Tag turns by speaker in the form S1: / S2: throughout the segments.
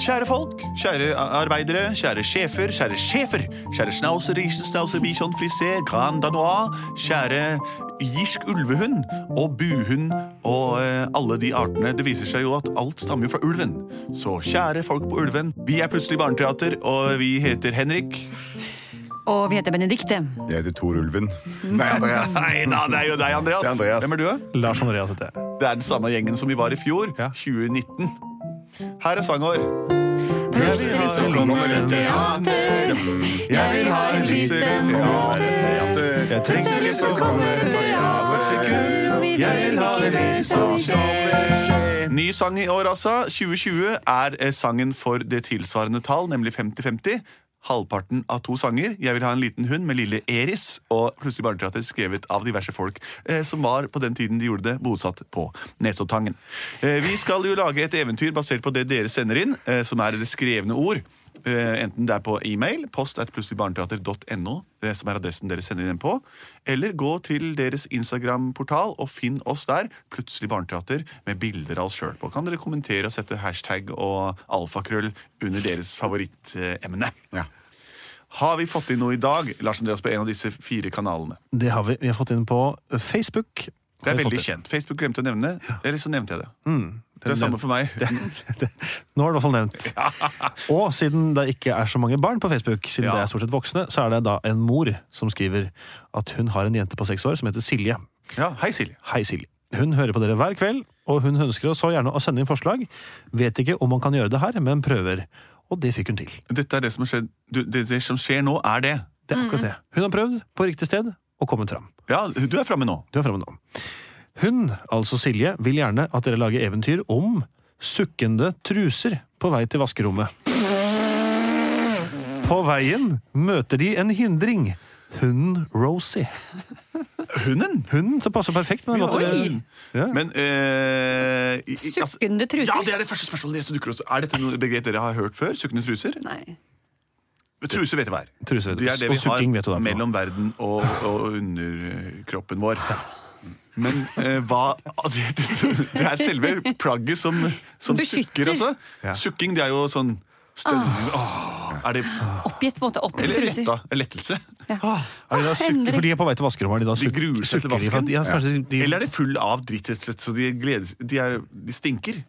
S1: Kjære folk, kjære a- arbeidere, kjære sjefer, kjære sjefer, kjære snauser, risenstauser, bichon frisé, grand danois, kjære irsk ulvehund og buhund og eh, alle de artene. Det viser seg jo at alt stammer jo fra ulven. Så kjære folk på ulven, vi er plutselig barneteater, og vi heter Henrik.
S2: Og vi heter Benedikte.
S3: Jeg heter Tor Ulven. Nei, Andreas.
S1: Nei da, det er jo deg, Andreas.
S3: Det er Andreas.
S1: Hvem er du? da?
S4: Lars Andreas heter jeg.
S1: Det er den samme gjengen som vi var i fjor,
S4: Ja.
S1: 2019. Her er sangår.
S2: Plutselig så kommer det teater. Jeg vil ha en liten
S3: Jeg trenger litt
S5: sånn
S3: så kommer et teater.
S1: Jeg vil ha det mer
S5: sånn
S1: som skjer. Ny sang i år, altså. 2020 er eh, sangen for det tilsvarende tall, nemlig 50-50. Halvparten av to sanger. Jeg vil ha en liten hund med lille Eris. Og plutselig barneteater skrevet av diverse folk eh, som var på den tiden de gjorde det, bosatt på Nesoddtangen. Eh, vi skal jo lage et eventyr basert på det dere sender inn, eh, som er det skrevne ord. Eh, Enten det er på e-mail, post at plutseligbarneteater.no, det eh, som er adressen dere sender den på, eller gå til deres Instagram-portal og finn oss der, Plutselig barneteater, med bilder av oss sjøl på. Kan dere kommentere og sette hashtag og alfakrøll under deres favorittemne?
S3: Ja.
S1: Har vi fått inn noe i dag, Lars Andreas, på en av disse fire kanalene?
S4: Det har vi. Vi har fått inn på Facebook.
S1: Det Mm.
S4: Har
S1: er
S4: vi fått
S1: veldig
S4: inn.
S1: kjent. Facebook glemte å nevne det, eller så nevnte jeg det. Det er samme for meg.
S4: Nå har du i hvert fall nevnt. Og siden det ikke er så mange barn på Facebook, siden
S1: Ja.
S4: det er stort sett voksne, så er det da en mor som skriver at hun har en jente på seks år som heter Silje.
S1: Ja, Hei, Silje.
S4: Hei, Silje. Hun hører på dere hver kveld, og hun ønsker så gjerne å sende inn forslag. Vet ikke om man kan gjøre det her, men prøver. Og det fikk hun til.
S1: Dette er det som, har skjedd. du, det, det som skjer nå, er det.
S4: Det er akkurat det. Hun har prøvd på riktig sted og kommet fram.
S1: Ja, du er framme nå.
S4: Du er framme nå. Hun, altså Silje, vil gjerne at dere lager eventyr om sukkende truser på vei til vaskerommet. På veien møter de en hindring. Hunden Rosie.
S1: Hunden!
S4: Hunden som passer perfekt med den
S1: Ja,
S4: måten.
S1: det-
S4: Ja.
S1: Men eh, i- i- altså-
S2: Sukkende truser.
S1: Ja, det er det første spørsmålet som dukker opp. Er dette noe begrep dere har hørt før? Sukkende truser?
S2: Nei.
S1: Truser vet du hva er.
S4: Truser vet du.
S1: det er det
S4: Og
S1: vi
S4: sukking vet du hva
S1: har
S4: er for noe.
S1: mellom verden og, og underkroppen vår. Men eh, hva det, det, det er selve plagget som, som
S2: Beskytter.
S1: sukker, altså. Sukking, det er jo sånn stønning Åh, Er det
S2: Oppgitt på en måte. Oppgitt
S1: Eller
S2: Ah. truser.
S1: letta, lettelse?
S4: Er de da sukker,
S2: Henrik.
S4: for de er på vei til vaskerommet. Er de da
S1: De
S4: sukker,
S1: gruer seg til
S4: sukker de for at-
S1: vasken.
S4: Ja, kanskje de, de,
S1: Eller er det full av dritt, rett og slett, så de, gleder, de, er, de stinker?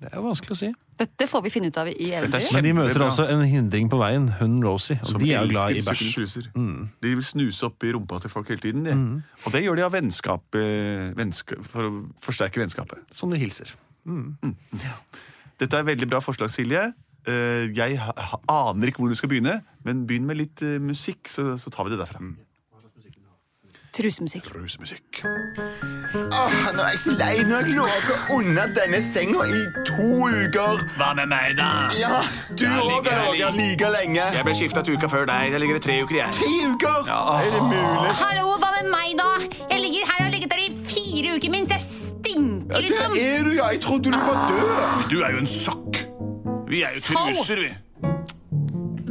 S4: det er vanskelig å si.
S2: Dette får vi finne ut av i eventyret.
S4: Men de
S1: Kjempebra.
S4: møter altså en hindring på veien, hunden Rosie. Og
S1: Som
S4: de er jo glad i
S1: elsker
S4: bæsj.
S1: sukkende truser. De vil snuse opp i rumpa til folk hele tiden. De. Og det gjør de av vennskap, eh, vennskap for å forsterke vennskapet.
S4: Som de hilser.
S1: Dette er veldig bra forslag, Silje. Eh, Jeg ha- ha- aner ikke hvor vi skal begynne, men begynn med litt eh, musikk, så, så tar vi det derfra.
S2: Trusemusikk.
S1: Rusmusikk.
S3: Åh, nå er jeg så lei. Nå har jeg ligget under denne senga i to uker.
S1: Hva med meg, da?
S3: Ja, du
S1: Jeg
S3: òg
S1: ligger
S3: har
S1: her
S3: ligget like lenge.
S1: ble skifta uka før deg. Jeg ligger i tre uker, jeg.
S3: Ti uker! Er det mulig?
S5: Hallo, hva med meg da? Jeg ligger her og har ligget der i fire uker mens jeg
S3: Ja,
S5: stinker, liksom.
S3: det er du, ja. Jeg trodde du var død.
S1: Du er jo en sokk. Vi er jo
S5: truser,
S1: vi.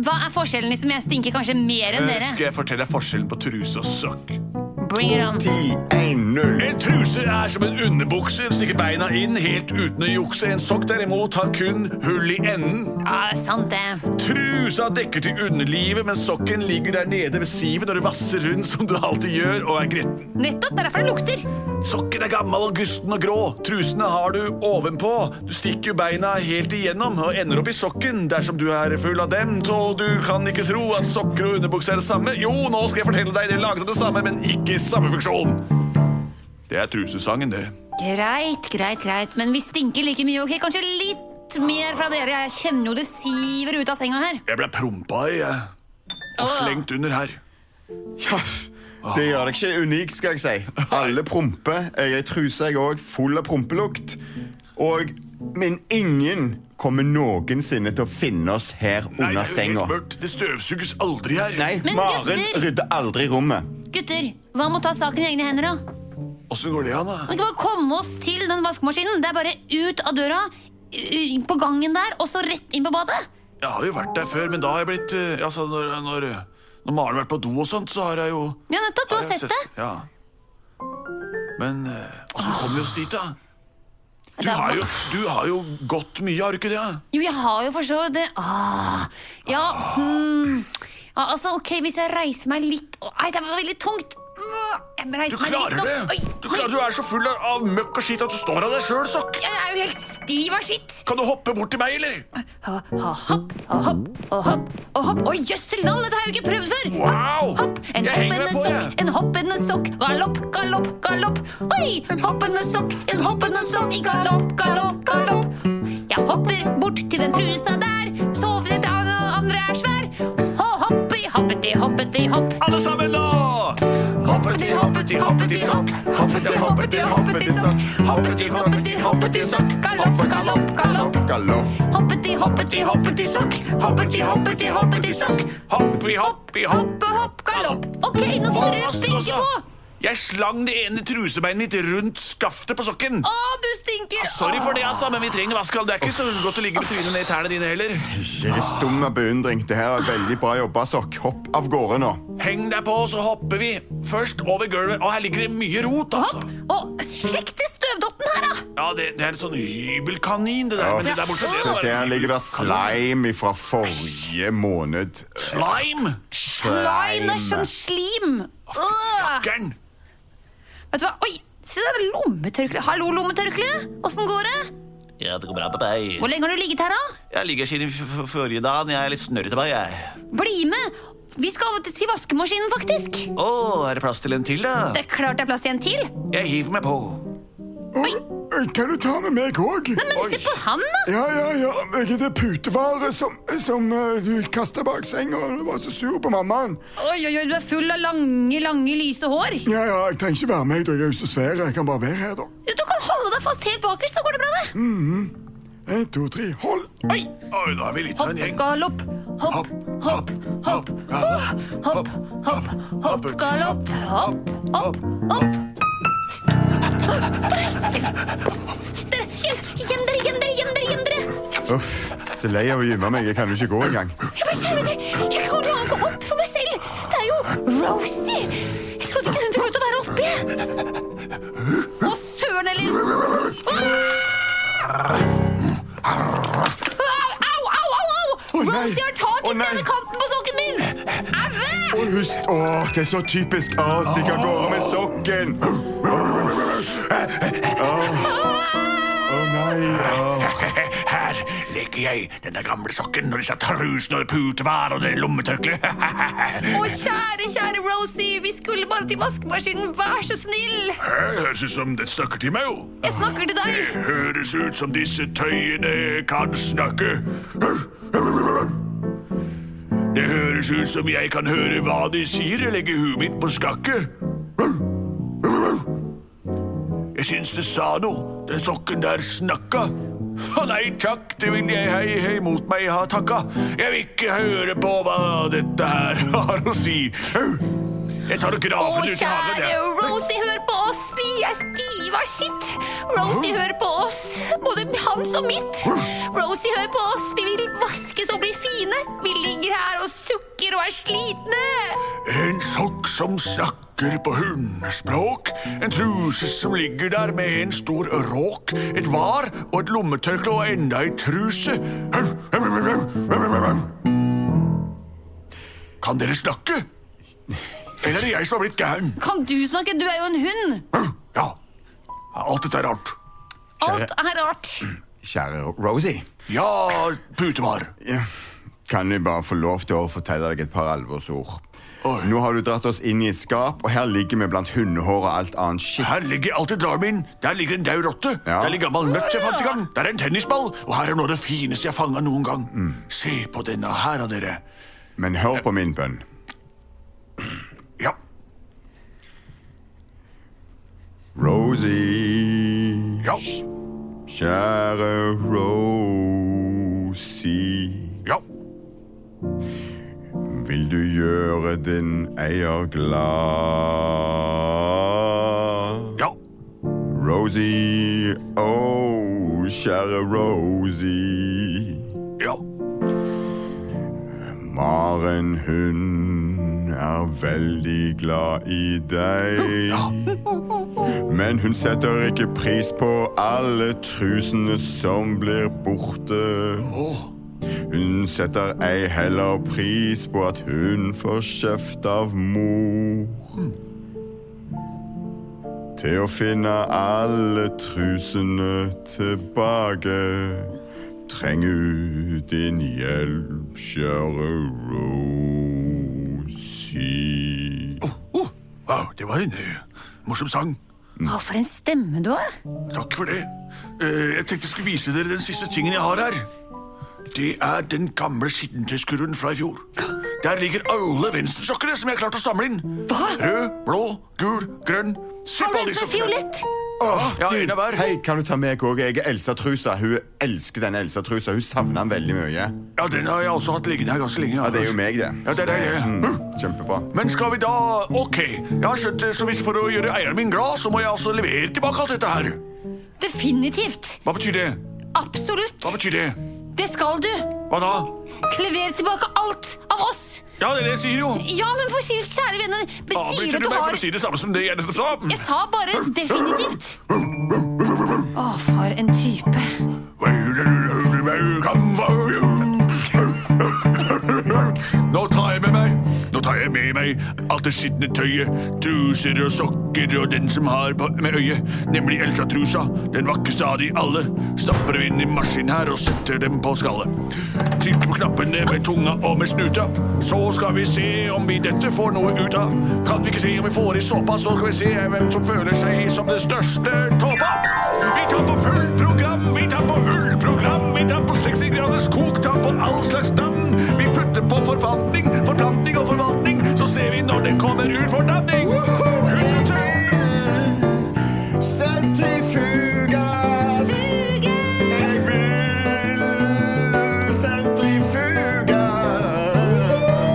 S5: Hva er forskjellen, liksom? Jeg stinker kanskje mer enn dere.
S1: jeg fortelle deg forskjellen på truse og sokk?
S5: Bring it on.
S3: 10-1-0.
S1: En truse er som en underbukse, stikker beina inn helt uten å jukse. En sokk derimot har kun hull i enden.
S5: Ja, det er sant det.
S1: Trusa dekker til underlivet, men sokken ligger der nede ved sivet når du vasser rundt som du alltid gjør og er gretten.
S5: Nettopp, det er derfor det lukter.
S1: Sokken er gammel og gusten og grå. Trusene har du ovenpå. Du stikker jo beina helt igjennom og ender opp i sokken dersom du er full av dem. Så du kan ikke tro at sokker og underbukse er det samme. Jo, nå skal jeg fortelle deg, de lagde det samme, men ikke i samme funksjon. Det er trusesangen, det.
S5: Greit, greit, greit. Men vi stinker like mye, ok? Kanskje litt mer fra dere. Jeg kjenner jo det siver ut av senga her.
S1: Jeg ble prompa i jeg, og slengt under her.
S3: Ja, det gjør deg ikke unik, skal jeg si. Alle promper. Jeg er i truse, jeg òg, full av prompelukt. Og Men ingen kommer noensinne til å finne oss her under senga.
S1: mørkt. Det støvsuges aldri her.
S3: Nei,
S5: Men
S3: Maren
S5: gutter!
S3: rydder aldri rommet.
S5: Gutter, hva med å ta saken i egne hender, da?
S1: Åssen går det an, da?
S5: Vi kan bare komme oss til den vaskemaskinen. Det er bare ut av døra, inn på gangen der, og så rett inn på badet.
S1: Jeg har jo vært der før, men da har jeg blitt eh, Altså, når, når, når Maren har vært på do og sånt, så har jeg jo
S5: Ja, nettopp. Du har
S1: jeg
S5: sett det.
S1: eh, Ja. Men åssen kommer vi oss dit, da? Du har jo, du har jo gått mye, har du ikke det?
S5: Jo, jeg har jo for så vidt det. Ah, ja, hmm. ja, altså, ok, hvis jeg reiser meg litt Å, Nei, det var veldig tungt. Mm, Jeg må
S1: Du
S5: reise meg
S1: klarer
S5: litt
S1: det!
S5: opp. Oi,
S1: Du, klarer, du er så full av- av møkk og skitt at du står av deg sjøl, sokk!
S5: Jeg er jo helt stiv av skitt.
S1: Kan du hoppe bort til meg, eller?
S5: Ha, ha, hopp, ha, hopp, og hopp, og hopp. Å, jøssel navn, dette har jeg jo ikke prøvd før!
S1: Wow!
S5: Hopp, hopp, en
S1: Jeg henger
S5: hoppende
S1: meg på,
S5: sokk,
S1: jeg.
S5: en hoppende sokk, galopp, galopp, galopp. Oi! En hoppende sokk, en hoppende sokk, i galopp, galopp, galopp. Jeg hopper bort til den trusa der, sovnet av den andre er svær. Ho, hoppi, hoppeti, hoppeti, hopp.
S1: Alle sammen nå!
S5: Hoppeti, hoppeti, hoppeti, hopp. Hoppeti, hoppeti, hoppeti, sokk. Hoppeti, hoppeti, hoppeti, sokk. Galopp, galopp, galopp.
S3: Galopp.
S5: Hoppeti, hoppeti, hoppeti, sokk. Hoppeti, hoppeti, hoppeti, sokk.
S1: Hoppi, hoppi, hopp.
S5: Hoppe, hopp, galopp. Ok, nå
S1: Hold
S5: sitter dere og
S1: fast,
S5: stinker
S1: altså.
S5: på.
S1: Jeg slang det ene trusebeinet mitt rundt skaftet på sokken.
S5: Å, du stinker!
S1: Sorry for det, altså, men vi trenger vaskehall. Det er ikke så godt å ligge med trynet ned i tærne dine heller.
S3: Jeg er stum av beundring. Det her er veldig bra jobba, Sokk. Hopp av gårde nå.
S1: Heng deg på, så hopper vi. Først over gulvet. Og her ligger det mye rot, altså.
S5: Hopp, og slekk til støvdotten her, da!
S1: Ja, det, det er en sånn hybelkanin, det der. Men det der borte, det
S3: Se,
S1: var
S3: der ligger det slime fra forrige måned.
S1: slime.
S5: Slime er sånn slim. Øh.
S1: Gæren.
S5: Vet du hva? Oi, se der, lommetørkle. Hallo, lommetørkle. Åssen går det?
S1: Ja, det går bra med deg.
S5: Hvor lenge har du ligget her, da?
S1: Jeg ligger siden f- f- forrige dagen. Jeg er litt snørrete på meg, jeg.
S5: Bli med! Vi skal til vaskemaskinen, faktisk.
S1: Å, er det plass til en til, da?
S5: Det er klart det er plass til en til.
S1: Jeg hiver meg på.
S5: Oi,
S3: Kan du ta med meg òg?
S5: men se på han, da!
S3: Ja, ja, ja. Jeg er det putevaret som, som eh, du kasta bak senga. Du var så sur på mammaen.
S5: Oi, oi, oi, du er full av lange, lange, lyse hår.
S3: Ja, ja, jeg trenger ikke være med. da. Jeg er jo så svær. Jeg kan bare være her, da.
S5: Du kan holde deg fast helt bakerst, så går det bra,
S1: Mm.
S5: det.
S3: En, to, tre, hold.
S5: Oi,
S1: Oi, nå er vi litt av
S5: Hopp,
S1: en gjeng.
S5: galopp, hopp, hopp, hopp. Åh, Hopp, hopp, hopp, galopp, hopp, hopp, hopp. Dere, hjelp! Gjem dere, gjem dere, gjem dere! gjem dere!
S3: Uff, så lei av å gymme meg. Jeg kan jo ikke gå engang.
S5: Jeg bare kjenner det. Jeg klarer ikke å gå opp for meg selv. Det er jo Rosie! Jeg trodde ikke hun fikk lov til å være oppi. Å, søren eller Au, au, au! au, au.
S3: Å, nei.
S5: Rosie har tak i
S3: Å, nei.
S5: denne kanten på sokken min! Au!
S3: Og hust. Å, det er så typisk. Å, stikk av gårde med sokken. Å, nei. Å.
S1: Her leker jeg denne gamle sokken og disse trusene og putevær og det lommetørkleet.
S5: Å, kjære, kjære Rosie, vi skulle bare til vaskemaskinen. Vær så snill!
S1: Høres ut som den snakker til meg, jo.
S5: Jeg snakker til deg.
S1: Høres ut som disse tøyene kan snakke. Det høres ut som jeg kan høre hva de sier. Jeg legger huet mitt på skakke. Jeg syns det sa noe. Den sokken der snakka. Å nei takk, det vil jeg hei hei mot meg ha takka. Jeg vil ikke høre på hva dette her har å si. Jeg tar og
S5: Å,
S1: graver den ut i hagen.
S5: kjære
S1: jeg.
S5: Rosie, hør på oss! Vi er stive av skitt! Rosie, hør på oss! Både hans og mitt! Rosie, hør på oss! Vi vil vaskes og bli fine! Vi ligger her og sukker og er slitne!
S1: En sokk som snakker på hundespråk. En truse som ligger der med en stor råk. Et var og et lommetørkle og enda ei truse. Kan dere snakke? Eller er det jeg som har blitt gæren?
S5: Kan du snakke? Du er jo en hund!
S1: Ja. Alt dette er rart.
S5: Alt er rart.
S3: Kjære Rosie.
S1: Ja, putevar.
S3: Ja. Kan jeg bare få lov til å fortelle deg et par alvorsord?
S1: Oi.
S3: Nå har du dratt oss inn i et skap, og her ligger vi blant hundehår og alt annet skitt.
S1: Her ligger alt jeg drar med inn. Der ligger en daud rotte.
S3: Ja.
S1: Der ligger en gammel nøtt jeg fant i gang. Der er en tennisball. Og her er noe av det fineste jeg fanga noen gang. Se på denne her, av dere.
S3: Men hør på min bønn.
S1: Ja.
S3: Rosie,
S1: Ja.
S3: kjære Rosie.
S1: Ja.
S3: Vil du gjøre din eier glad?
S1: Ja.
S3: Rosie, oh, kjære Rosie.
S1: Ja.
S3: Maren, hun er veldig glad i deg. men hun setter ikke pris på alle trusene som blir borte. Hun setter ei heller pris på at hun får kjeft av mor. Til å finne alle trusene tilbake. Treng ut din hjelp, kjære Rosie.
S1: Oh, wow, det var en eh, morsom sang.
S5: Å, for en stemme du har.
S1: Takk for det. Eh, jeg tenkte jeg skulle vise dere den siste tingen jeg har her. Det er den gamle skittentøyskurven fra i fjor. Der ligger alle venstresjokkene som jeg har klart å samle inn.
S5: Hva?
S1: Rød, blå, gul, grønn. Se
S5: Har du en som er
S1: sjokkene.
S5: fiolett?
S3: Åh,
S1: Ja,
S3: du,
S1: en av hver.
S3: Hei, kan du ta meg òg? Jeg er Elsa Trusa. Hun elsker denne Elsa Trusa. Hun savner den veldig mye.
S1: Ja, den har jeg også hatt liggende her ganske lenge.
S3: Ja, det er jo meg, det.
S1: Ja, det er deg, det.
S3: Mm, kjempebra.
S1: Men skal vi da Ok, jeg har skjønt det, så hvis for å gjøre eieren min glad, så må jeg altså levere tilbake alt dette her.
S5: Definitivt.
S1: Hva betyr det?
S5: Absolutt.
S1: Hva betyr det?
S5: Det skal du.
S1: Hva da?
S5: Lever tilbake alt av oss.
S1: Ja, det er det jeg sier jo.
S5: Ja, men for sier- kjære venner, men sier
S1: Avbryter du
S5: du at
S1: meg
S5: du
S1: for
S5: har
S1: å si det samme som det jeg nettopp sa? Mm.
S5: Jeg sa bare definitivt. Å, for en type.
S1: Nå tar jeg med meg Nå tar jeg med meg alt det skitne tøyet, truser og sokker og den som har på, med øyet, nemlig Elsa-trusa, den vakreste av de alle. Stapper dem inn i maskinen her og setter dem på skallet. Trykker på knappene med tunga og med snuta. Så skal vi se om vi dette får noe ut av. Kan vi ikke se om vi får i såpa, så skal vi se hvem som føler seg som den største tåpa. Vi tar på fullt program, vi tar på ullprogram, vi tar på 60 graders kok, tar på all slags navn. Vi putter på forfatning, forplantning og forvaltning, så ser vi når det kommer ut fordampning.
S3: Sentrifugas. Jeg vil sentrifugas.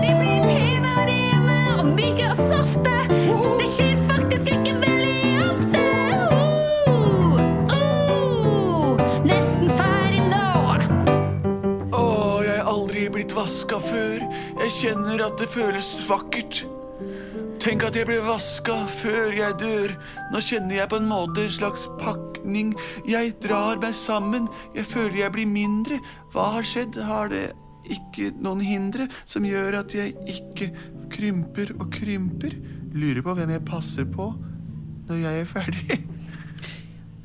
S5: De blir pene og rene og myke og softe. Det skjer faktisk ikke veldig ofte. Oh, oh, nesten ferdig nå.
S1: Å, jeg har aldri blitt vaska før. Jeg kjenner at det føles vakkert. Tenk at jeg ble vaska før jeg dør. Nå kjenner jeg på en måte en slags pakning. Jeg drar meg sammen. Jeg føler jeg blir mindre. Hva har skjedd? Har det ikke noen hindre som gjør at jeg ikke krymper og krymper? Lurer på hvem jeg passer på når jeg er ferdig.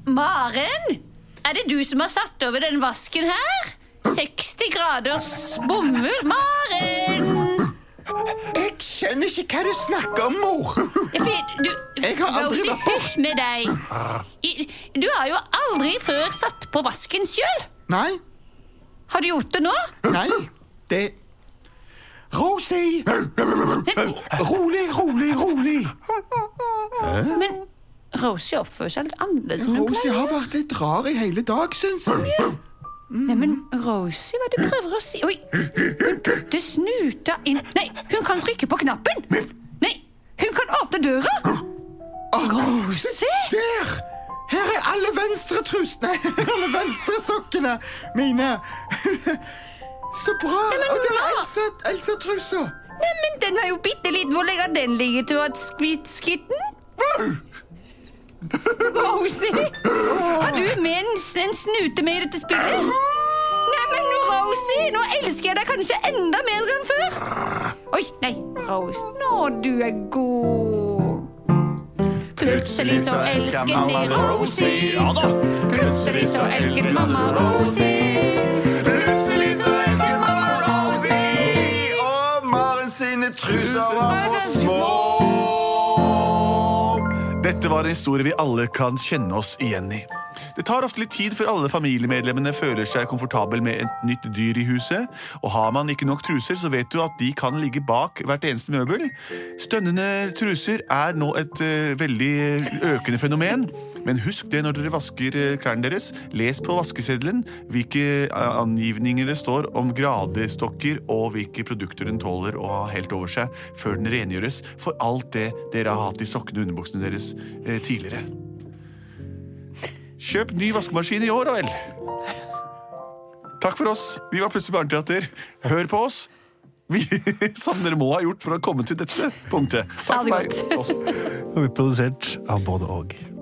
S5: Maren, er det du som har satt over den vasken her? 60 graders bomull. Maren!
S3: Jeg skjønner ikke hva du snakker om, mor.
S5: Ja, for Du,
S3: Jeg har aldri
S5: Rosie,
S3: vært bort.
S5: hysj med deg. I- Du har jo aldri før satt på vasken sjøl.
S3: Nei,
S5: Har du gjort det nå?
S3: nei, det Rosie!
S5: Men,
S3: Rolig, rolig, rolig.
S5: men Rosie oppfører seg litt annerledes enn hun
S3: Rosie
S5: pleier.
S3: har vært litt rar i hele dag, syns jeg.
S5: Nei, men Rosie, hva er det du prøver å si? Oi, hun putter snuta inn Nei, hun kan trykke på knappen! Nei, hun kan åpne døra! Rosie!
S3: Der! Her er alle venstre trus... Nei, her er alle venstre sokkene mine. Så bra.
S5: men
S3: Og der er
S5: hva?
S3: Elsa, Elsa trusa.
S5: Nei, men den var jo bitte liten. Hvor lenge har den ligget til å ha skvitt skitten? Rosie, har du med en, en snute med i dette spillet? Nei, men nå, Rosie, nå elsker jeg deg kanskje enda mer enn før. Oi, nei, Rose, nå du er god. Plutselig så elsket de Rosie.
S1: Ja da!
S5: Plutselig så elsket mamma Rosie.
S3: Plutselig så elsker mamma Rosie. Og Maren sine truser var for små.
S2: Dette var en historie vi alle kan kjenne oss igjen i. Det tar ofte litt tid før alle familiemedlemmene føler seg komfortabel med et nytt dyr i huset, og har man ikke nok truser, så vet du at de kan ligge bak hvert eneste møbel. Stønnende truser er nå et eh, veldig økende fenomen, men husk det når dere vasker eh, klærne deres. Les på vaskeseddelen hvilke eh, angivninger det står om gradestokker, og hvilke produkter den tåler å ha helt over seg, før den rengjøres for alt det dere har hatt i sokkene og underbuksene deres eh, tidligere. Kjøp ny vaskemaskin i år, da vel. Takk for oss. Vi var plutselig barneteater. Hør på oss. Vi, som dere må ha gjort for å komme til dette punktet. Takk
S5: Ha det
S2: for meg. Oss.
S4: Og vi er produsert av både og.